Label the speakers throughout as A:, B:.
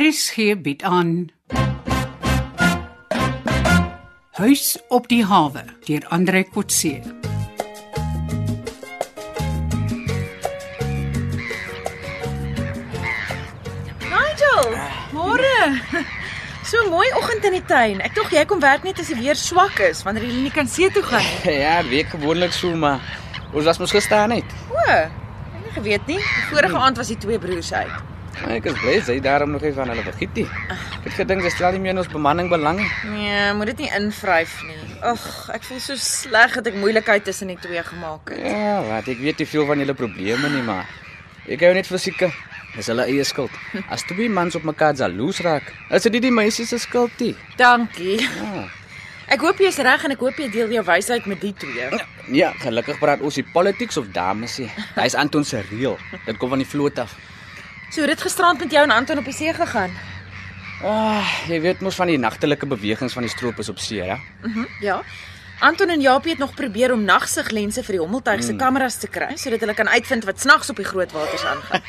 A: RSG bied aan Huis op die hawe deur Andre Kotse.
B: Nigel, môre. So mooi oggend in die tuin. Ek dink jy kom werk net as die weer swak is wanneer jy nie kan see toe gaan nie.
C: Ja, het werk gewoonlik so, maar ons was mos gister net.
B: O, ek het nie geweet nie. Vorige aand was die twee broers uit.
C: Ek is bly sy daarom nog nie van hulle vergiet nie. Ek het gedink dit stel nie meer in ons bemanning belang nie.
B: Nee, moet dit nie invryf nie. Ag, ek voel so sleg dat ek moeilikheid tussen die twee gemaak het.
C: Ja, wat ek weet nie veel van julle probleme nie, maar ek hou net vir seker. Dis hulle eie skuld. As twee mans op mekaar jaloes raak, is dit nie die meisie se skuld nie.
B: Dankie.
C: Ja.
B: Ek hoop jy's reg en ek hoop jy deel jou wysheid met die twee.
C: Ja, gelukkig praat ons nie politics of dames nie. Hy's Anton se reël. Dit kom van die vloot af.
B: So het dit gisterand met jou en Anton op die see gegaan.
C: Ah, jy weet mos van die nagtelike bewegings van die stroopers op see, ja?
B: Mhm. Ja. Anton en Japie het nog probeer om nagsiglense vir die hommeltuig se kameras te kry sodat hulle kan uitvind wat snags op die groot waters aangaan.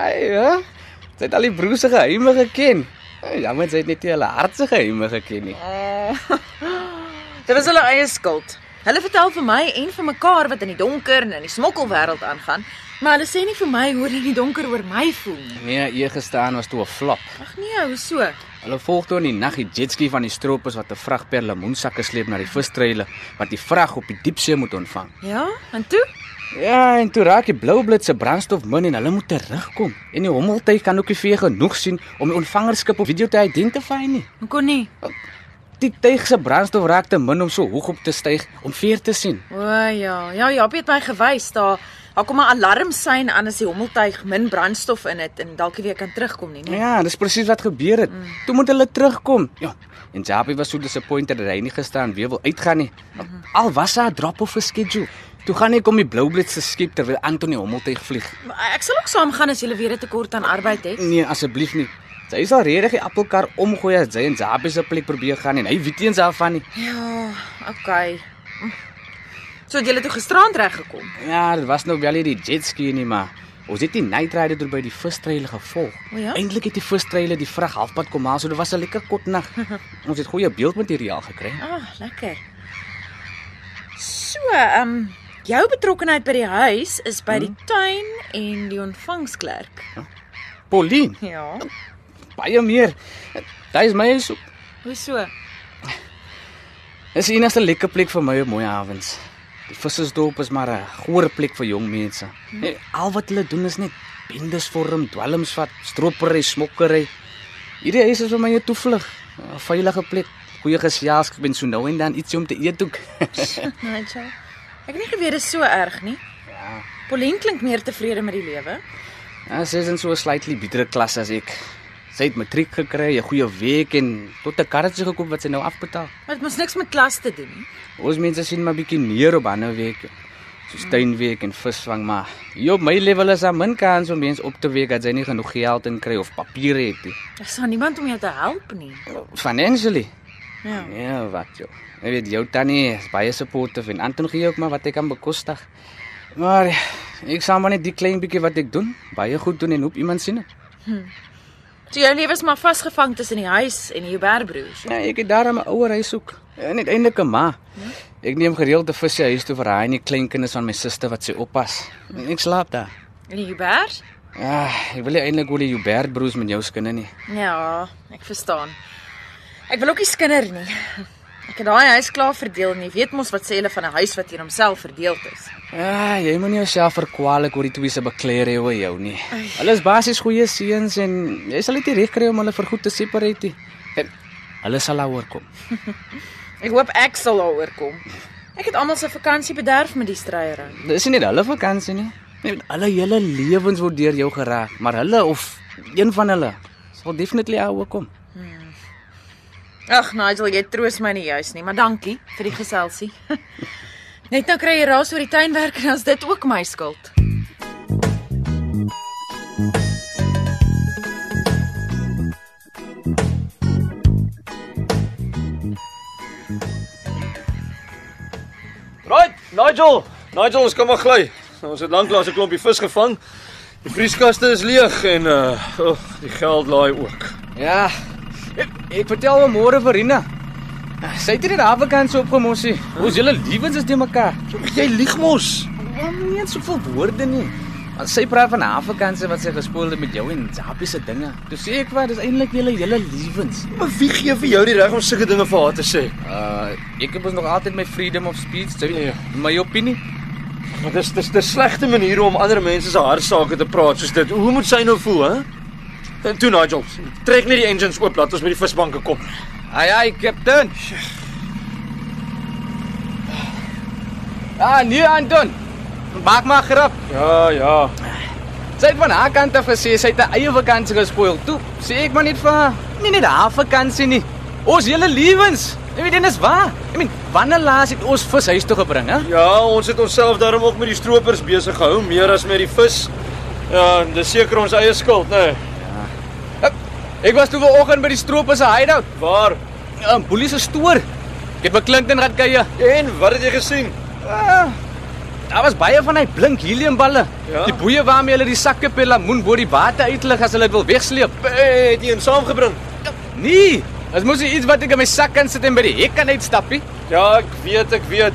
C: Ai, ja. Sy het al die broers se geheime geken. Ai, Jammer sy het net nie hulle hart se geheime geken nie.
B: Dit was hulle eie skuld. Hulle vertel vir my en vir mekaar wat in die donker en in die smokkelwêreld aangaan, maar hulle sê nie vir my hoe hulle in die donker oor my voel nie.
C: Nee, eergisteraan was toe 'n flop.
B: Ag nee, hoe so?
C: Hulle volg toe in die nag die jetski van die stroopers wat 'n vrag per lemoensakke sleep na die vistreile wat die vrag op die diepsee moet ontvang.
B: Ja, en toe?
C: Ja, en toe raak die blou blits se brandstof min en hulle moet terugkom. En die hommeltuig kan ook nie vir genoeg sien om die ontvangerskip op video te identify nie.
B: Hoe kon nie?
C: Die tuig se brandstof raak te min om so hoog op te styg om veer te sien.
B: O ja, ja, Japie het my gewys daar. Daar kom 'n alarmsein aan as die hommeltuig min brandstof in het en dalk nie weer kan terugkom nie, nee. né?
C: Ja, dis presies wat gebeur het. Mm. Toe moet hulle terugkom. Ja. En Japie was so disappointed dat hy nie gisteraan weer wil uitgaan nie. Mm.
B: Mhm.
C: Al was daar 'n drop of 'n schedule. Toe gaan hy kom die Blue Blitz se skep terwyl Antonie Hommeltuig vlieg.
B: Maar Ek sal ook saamgaan as jy weer 'n tekort aan arbeid het.
C: Nee, asseblief nie. Sy is al redig die appelkar omgooi as sy en Japie se plek probeer gaan en hy weet nie eens daarvan nie.
B: Ja, okay. So het julle toe gisterand reg gekom.
C: Ja, dit was nou wel nie die jetski nie, maar ons het die night rider tot by die vistreile gevolg.
B: O ja?
C: Eintlik het die vistreile die vrag halfpad kom haal, so dit was 'n lekker kort nag. ons het goeie beeldmateriaal gekry.
B: Ah, lekker. So, ehm um, jou betrokkeheid by die huis is by die tuin en die ontvangsklerk.
C: Pauline
B: Ja.
C: baie meer. Daai is my soek.
B: Hoe so?
C: Dis die enigste lekker plek vir my op mooi avonds. Die vissersdorp is maar 'n goeie plek vir jong mense. Nee, al wat hulle doen is net bendes vorm, dwelms vat, stropery, smokkery. Hierdie huis is vir my 'n toevlug, 'n veilige plek, goeie geselskap en so nou en dan ietsie om te eet ook.
B: Nigel. Ek het nie geweet dit is so erg nie.
C: ja,
B: Pauline klink meer tevrede met die lewe.
C: ja, sy is in so 'n slightly betere klas as ek. Sy het matriek gekry, 'n goeie week en tot 'n karretjie gekoop wat sy nou afbetaal.
B: Maar dit mos niks met klas te doen nie.
C: Ons mense sien maar bietjie neer op ander weke. So steenweek en visvang maar. Hier op my level is daar min kans om mense op te week dat jy nie genoeg geld in kry of papiere het nie.
B: Daar's daar niemand om jou te help nie.
C: Financially.
B: Ja.
C: Ja, wat jy. Ek weet jou tannie is baie supportive en Anton gee ook maar wat hy kan bekostig. Maar ek sal maar net die klein bietjie wat ek doen, baie goed doen en hoop iemand sien dit.
B: So jou lewe is maar vasgevang tussen die huis en die Huberbroers.
C: Ja, ek het daarom 'n ouer huis soek. En uiteindelik 'n ma. Ek neem gereeld te vis sy huis toe vir haar en die kleinkinders van my suster wat sy oppas. En ek slaap daar.
B: En die Hubers?
C: Ja, ek wil nie eintlik oor die Hubert broers met jou skinne nie.
B: Ja, ek verstaan. Ek wil ook nie skinder nie. Ek het daai huis klaar verdeel nie. Weet mos wat sê hulle van 'n huis wat teen homself verdeel is.
C: Ja, jy moenie jouself verkwalik oor die twee se bekleëre oor jou nie. Hulle is basies goeie seuns en jy sal dit nie reg kry om hulle vir goed te separate nie. En Hulle sal daaroor kom.
B: Ek hoop ek sal daaroor kom. Ek het almal se vakansie bederf met die stryery.
C: Dis nie net hulle vakansie nie. Nee, hulle hele lewens word deur jou geraak, maar hulle of een van hulle sal definitely daaroor kom.
B: Ag Nigel, jy troos my nie juis nie, maar dankie vir die geselsie. Net nou kry jy raas oor die tuinwerk en as dit ook my skuld.
D: Right, Nigel. Nigel, ons kom maar gly. Ons het lanklaas 'n klompie vis gevang Die vrieskaste is leeg en uh oh, die geld laai ook.
C: Ja. Ek, ek vertel hom môre vir Rina. Sy het hierdie halwe kans opgemossie. Ons hele lewens is te mekaar.
D: Jy lieg mos.
C: Ja, nie eens soveel woorde nie. Want sy praat van haar vakansie wat sy gespoel het met jou en Zapie se dinge. Toe sê ek wat, dis eintlik julle hele lewens.
D: Maar wie gee vir jou die reg om sulke dinge vir haar te sê?
C: Uh, ek het mos nog altyd my freedom of speech, jy
D: Ja.
C: weet, my opinie.
D: Want dis dis 'n slegte manier om ander mense se hartsake te praat soos dit. Hoe moet sy nou voel, hè? En toe Nigel, trek net die engines oop, laat ons met die visbanke kom.
C: Ai ai, kaptein. Ah, nee Anton. Maak maar grap.
D: Ja, ja.
C: Sy het van haar kant af gesê sy het 'n eie vakansie gespoil. Toe sê ek maar net vir haar, nie net haar vakansie nie. Ons hele lewens. Ek weet en is waar. Ek meen, wanneer laas het ons vis huis toe gebring, hè?
D: Ja, ons het onsself daarom ook met die stroopers besig gehou, meer as met die vis. Ja, dis seker ons eie skuld, né? Nee.
C: Ek was toe vanoggend by die stroopers se hideout,
D: Nee, Waar?
C: 'n boelie se stoor. Ek het beklink en gaan kyk.
D: En wat het jy gesien?
C: Ah, Daar was baie van hy blink heliumballe.
D: Ja.
C: Die boeie waarmee hulle die sakke pelamoen bo die water uitlig as hulle dit wil wegsleep.
D: Eh, Het jy hom saamgebring?
C: Nee, as mos nie iets wat ek in my sak kan sit en by die hek kan uitstappie.
D: Ja, ek weet, ek weet.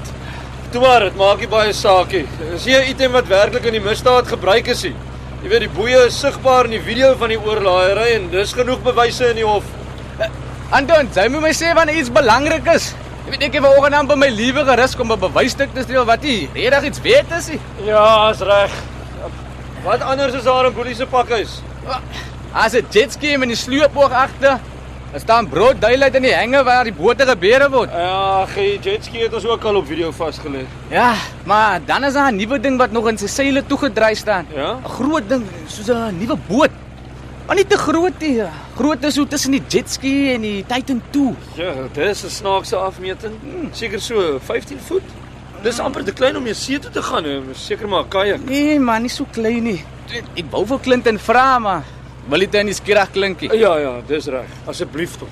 D: Toe maar, dit maak nie baie saakie. Is hier 'n item wat werklik in die misdaad gebruik is nie. Jy weet die boeie is sigbaar in die video van die oorlaaiery en dis genoeg bewyse in die hof.
C: Anton, jy moet my sê wanneer iets belangrik is. Jy weet ek het vanoggend aan by my lewe gerus om 'n bewysstuk te streel wat nie regtig iets weet is nie.
D: Ja, is reg. Wat anders is daar in boelie se pakhuis?
C: As 'n jetski met die sleepboog agter, daar staan brood duidelik in die henge waar die bote gebeere word.
D: Ja, die jetski het ons ook al op video vasgelê.
C: Ja, maar dan is daar 'n nuwe ding wat nog in sy seile toegedraai staan.
D: Ja?
C: 'n Groot ding, soos 'n nuwe boot. Maar nie te groot nie. Groot is so tussen die jetski en die Titan 2.
D: Ja, dis 'n snaakse afmeting. Seker so 15 voet. Dis amper te klein om jou see toe te gaan. hè. Seker maar 'n kajak.
C: Nee man, nie so klein nie. Ek wou vir Clinton vra maar wil dit in die skierig klinkie.
D: Ja ja, dis reg. Asseblief tog.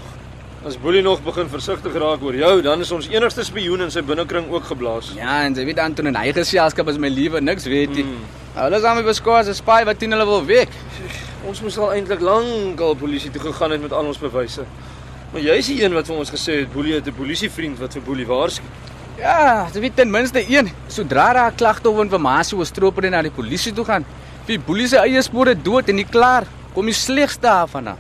D: As Boelie nog begin versigtig raak oor jou, dan is ons enigste spioen in sy binnekring ook geblaas.
C: Ja, en jy weet Anton en hy geselskap is my liewe niks weet jy. Mm. Hulle is aan my beskoor as 'n spy wat teen hulle wil week.
D: Ons moes al eintlik lank al polisie toe gegaan het met al ons bewyse. Maar jy is die een wat vir ons gesê het Boelie het 'n polisievriend wat vir Boelie waarsku.
C: Ja, jy weet ten minste er een. Sodra daar 'n klagte of informasie oor stroper en na die polisie toe gaan, die polisie se eie spore dood en nie klaar kom die slegste daarvan af.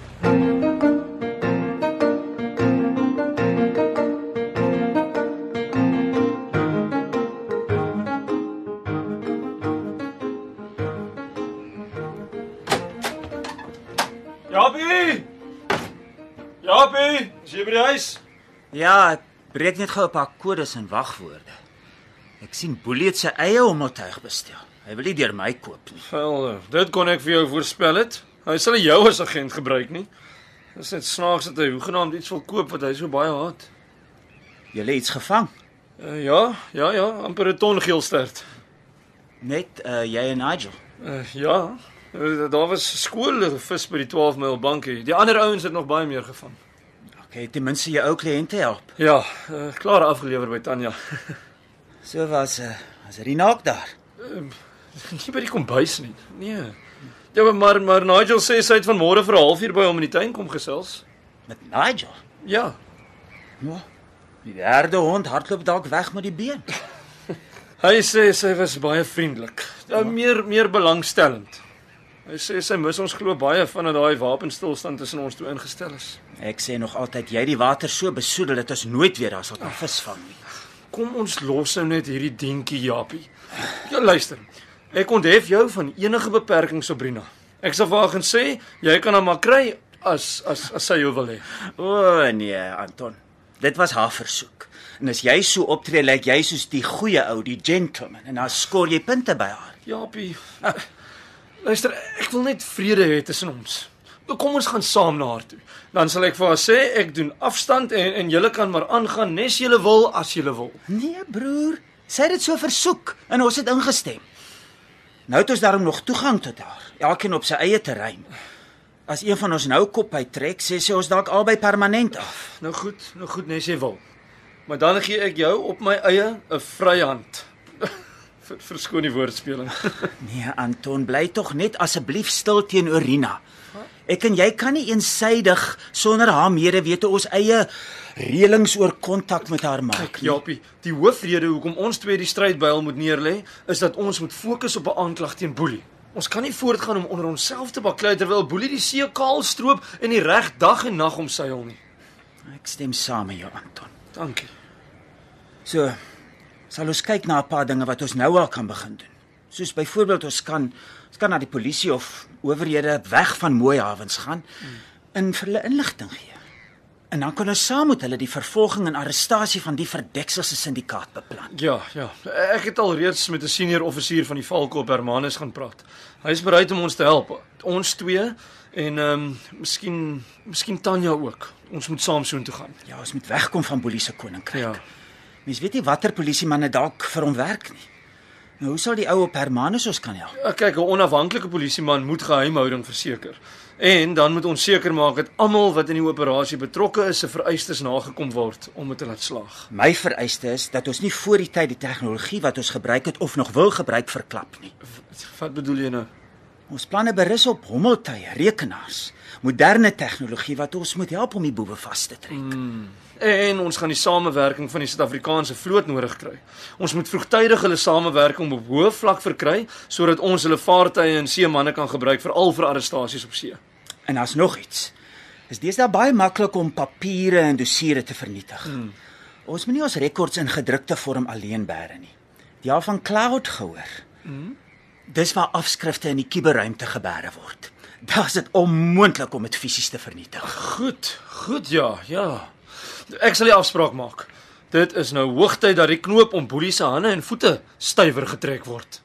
D: Japie! Japie, is jy by die huis?
E: Ja, ek breek net gou 'n paar kodes en wagwoorde. Ek sien Boelie het sy eie hommeltuig bestel. Hy wil nie deur my koop nie.
D: Wel, dit kon ek vir jou voorspel het. Hy sal nie jou as agent gebruik nie. Dis net snaaks dat hy hoegenaamd iets wil koop wat hy so baie haat.
E: Jy lê iets gevang.
D: Uh, ja, ja, ja, amper 'n ton geelsterd.
E: Net uh, jy en Nigel.
D: Uh, ja, Eh, daar was skool vis by die 12 myl bankie. Die ander ouens het nog baie meer gevang.
E: Okay, ten minste jou ou kliënte help.
D: Ja, uh, klaar afgelewer by Tanya.
E: So was uh, as Rina ook daar.
D: Eh, nie by die kombuis nie. Nee. Ja, maar maar Nigel sê sy het vanmôre vir 'n halfuur by hom in die tuin kom gesels.
E: Met Nigel.
D: Ja.
E: Ja. Die derde hond hardloop dalk weg met die been.
D: Hy sê sy was baie vriendelik. Ja, meer meer belangstellend. Hy sê sy mis ons glo baie van dat daai wapenstilstand tussen ons toe ingestel is.
E: Ek sê nog altyd jy het die water so besoedel dat ons nooit weer daar sal kan visvang nie.
D: Kom ons los nou net hierdie dingetjie Japie. Ja, luister. Ek onthef jou van enige beperking Sabrina. Ek sal vir haar gaan sê jy kan hom maar kry as as as sy jou wil hê.
E: O nee, Anton. Dit was haar versoek. En as jy so optree, lyk jy soos die goeie ou, die gentleman en dan skoor jy punte by haar.
D: Japie. Luister, ek wil net vrede hê tussen ons. Kom ons gaan saam na haar toe. Dan sal ek vir haar sê ek doen afstand en en julle kan maar aangaan nes julle wil as julle wil.
E: Nee, broer. Sy het dit so versoek en ons het ingestem. Nou het ons daarom nog toegang tot haar, elkeen op sy eie terrein. As een van ons nou kop uittrek, sê sy ons dalk albei permanent af.
D: Nou goed, nou goed nes jy wil. Maar dan gee ek jou op my eie 'n vryhand. Ver, verskoon die woordspeling.
E: Nee, Anton, bly tog net asseblief stil teenoor Rina. Ek en jy kan nie eensydig sonder haar medewete ons eie reëlings oor kontak met haar maak nie.
D: Japie, die hoofrede hoekom ons twee die stryd by hom moet neerlê, is dat ons moet fokus op 'n aanklag teen Boelie. Ons kan nie voortgaan om onder onsself te baklei terwyl Boelie die see kaal stroop en die reg dag en nag om seil nie.
E: Ek stem saam met jou, Anton.
D: Dankie.
E: So sal ons kyk na 'n paar dinge wat ons nou al kan begin doen. Soos byvoorbeeld ons kan ons kan na die polisie of owerhede weg van mooi hawens gaan en vir hulle inligting gee. En dan kan ons saam met hulle die vervolging en arrestasie van die verdekselse syndikaat beplan.
D: Ja, ja. Ek het al reeds met 'n senior offisier van die Valkop Hermanus gaan praat. Hy is bereid om ons te help. Ons twee en ehm um, miskien miskien Tanya ook. Ons moet saam soontoe gaan.
E: Ja, ons moet wegkom van Boelie se koninkryk.
D: Ja.
E: Mens weet nie watter polisiemanne dalk vir hom werk nie. Nou hoe sal die ou op Hermanus ons kan help?
D: Ek kyk, 'n onafhanklike polisieman moet geheimhouding verseker. En dan moet ons seker maak dat almal wat in die operasie betrokke is, se vereistes nagekom word om dit te laat slaag.
E: My vereiste is dat ons nie voor die tyd die tegnologie wat ons gebruik het of nog wil gebruik verklap nie.
D: Wat bedoel jy nou?
E: Ons planne berus op hommeltuie, rekenaars, moderne tegnologie wat ons moet help om die boewe vas te trek. Mm.
D: En ons gaan die samewerking van die Suid-Afrikaanse vloot nodig kry. Ons moet vroegtydig hulle samewerking op hoë vlak verkry sodat ons hulle vaartuie en seemanne kan gebruik veral vir arrestasies op see.
E: En daar's nog iets. Is deesdae baie maklik om papiere en dossiere te vernietig. Mm. Ons moenie ons rekords in gedrukte vorm alleen bære nie. Jy het van cloud gehoor. Mm. Dis waar afskrifte in die kuberruimte gebeere word. Daar's dit onmoontlik om dit fisies te vernietig.
D: Goed, goed ja, ja. Ek sal die afspraak maak. Dit is nou hoogtyd dat die knoop om Boelie se hande en voete stywer getrek word.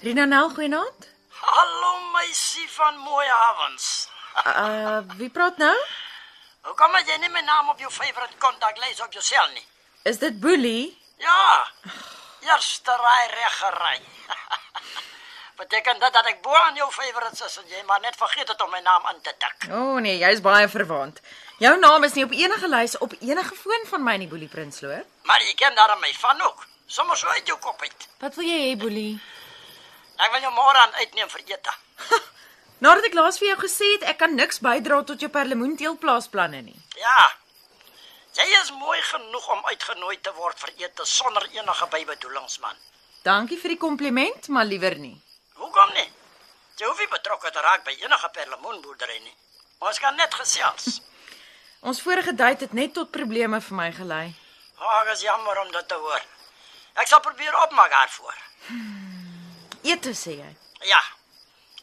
B: Rina Nel, goeienaand.
F: Hallo meisie van mooi avonds.
B: Uh wie praat nou?
F: Hoe kom dit jy nie my naam op jou favorite kontaklys op jou sel nie?
B: Is dit Boelie?
F: Ja. Eerste ry reg gery. Beteken dit dat ek bo aan jou favorites is en jy maar net vergeet het om my naam in te tik?
B: O oh, nee, jy's baie verwaand. Jou naam is nie op enige lys op enige foon van my nie, Boelie Prinsloo.
F: Maar jy ken daarom my van ook. Sommige so uit jou kop uit.
B: Wat wil jy hê, Boelie?
F: Ek wil jou môre aan uitneem vir ete.
B: Nadat ek laas vir jou gesê het ek kan niks bydra tot jou perlemoenteelplaasplanne nie.
F: Ja. Jy is mooi genoeg om uitgenooi te word vir ete sonder enige bybedoelings man.
B: Dankie vir die kompliment, maar liewer nie.
F: Hoekom nie? Jy hoef nie betrokke te raak by enige perlemoenboerdery nie. Ons kan net gesels.
B: Ons vorige date het net tot probleme vir my gelei.
F: Ag, is jammer om dit te hoor. Ek sal probeer opmaak daarvoor.
B: Eet toe sê jy.
F: Ja.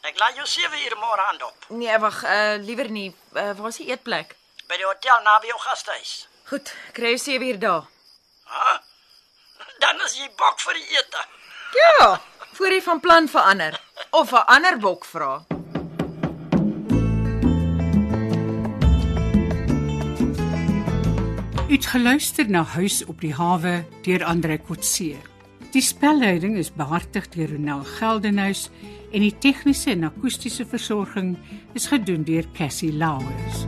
F: Ek laat jou 7 uur môre aan dop
B: Nee, wag, uh liewer nie. Uh, Waar is die eetplek?
F: by die hotel naby jou gastehuis.
B: Goed, kry jou 7 uur daar.
F: Hæ? Dan is jy bok vir die ete.
B: Ja, voor jy van plan verander of 'n ander bok vra.
A: U het geluister na Huis op die hawe deur Andre Kotse. Die spelleiding is behartig deur Ronel Geldenhuys en die tegniese en akoestiese versorging is gedoen deur Cassie Lauers.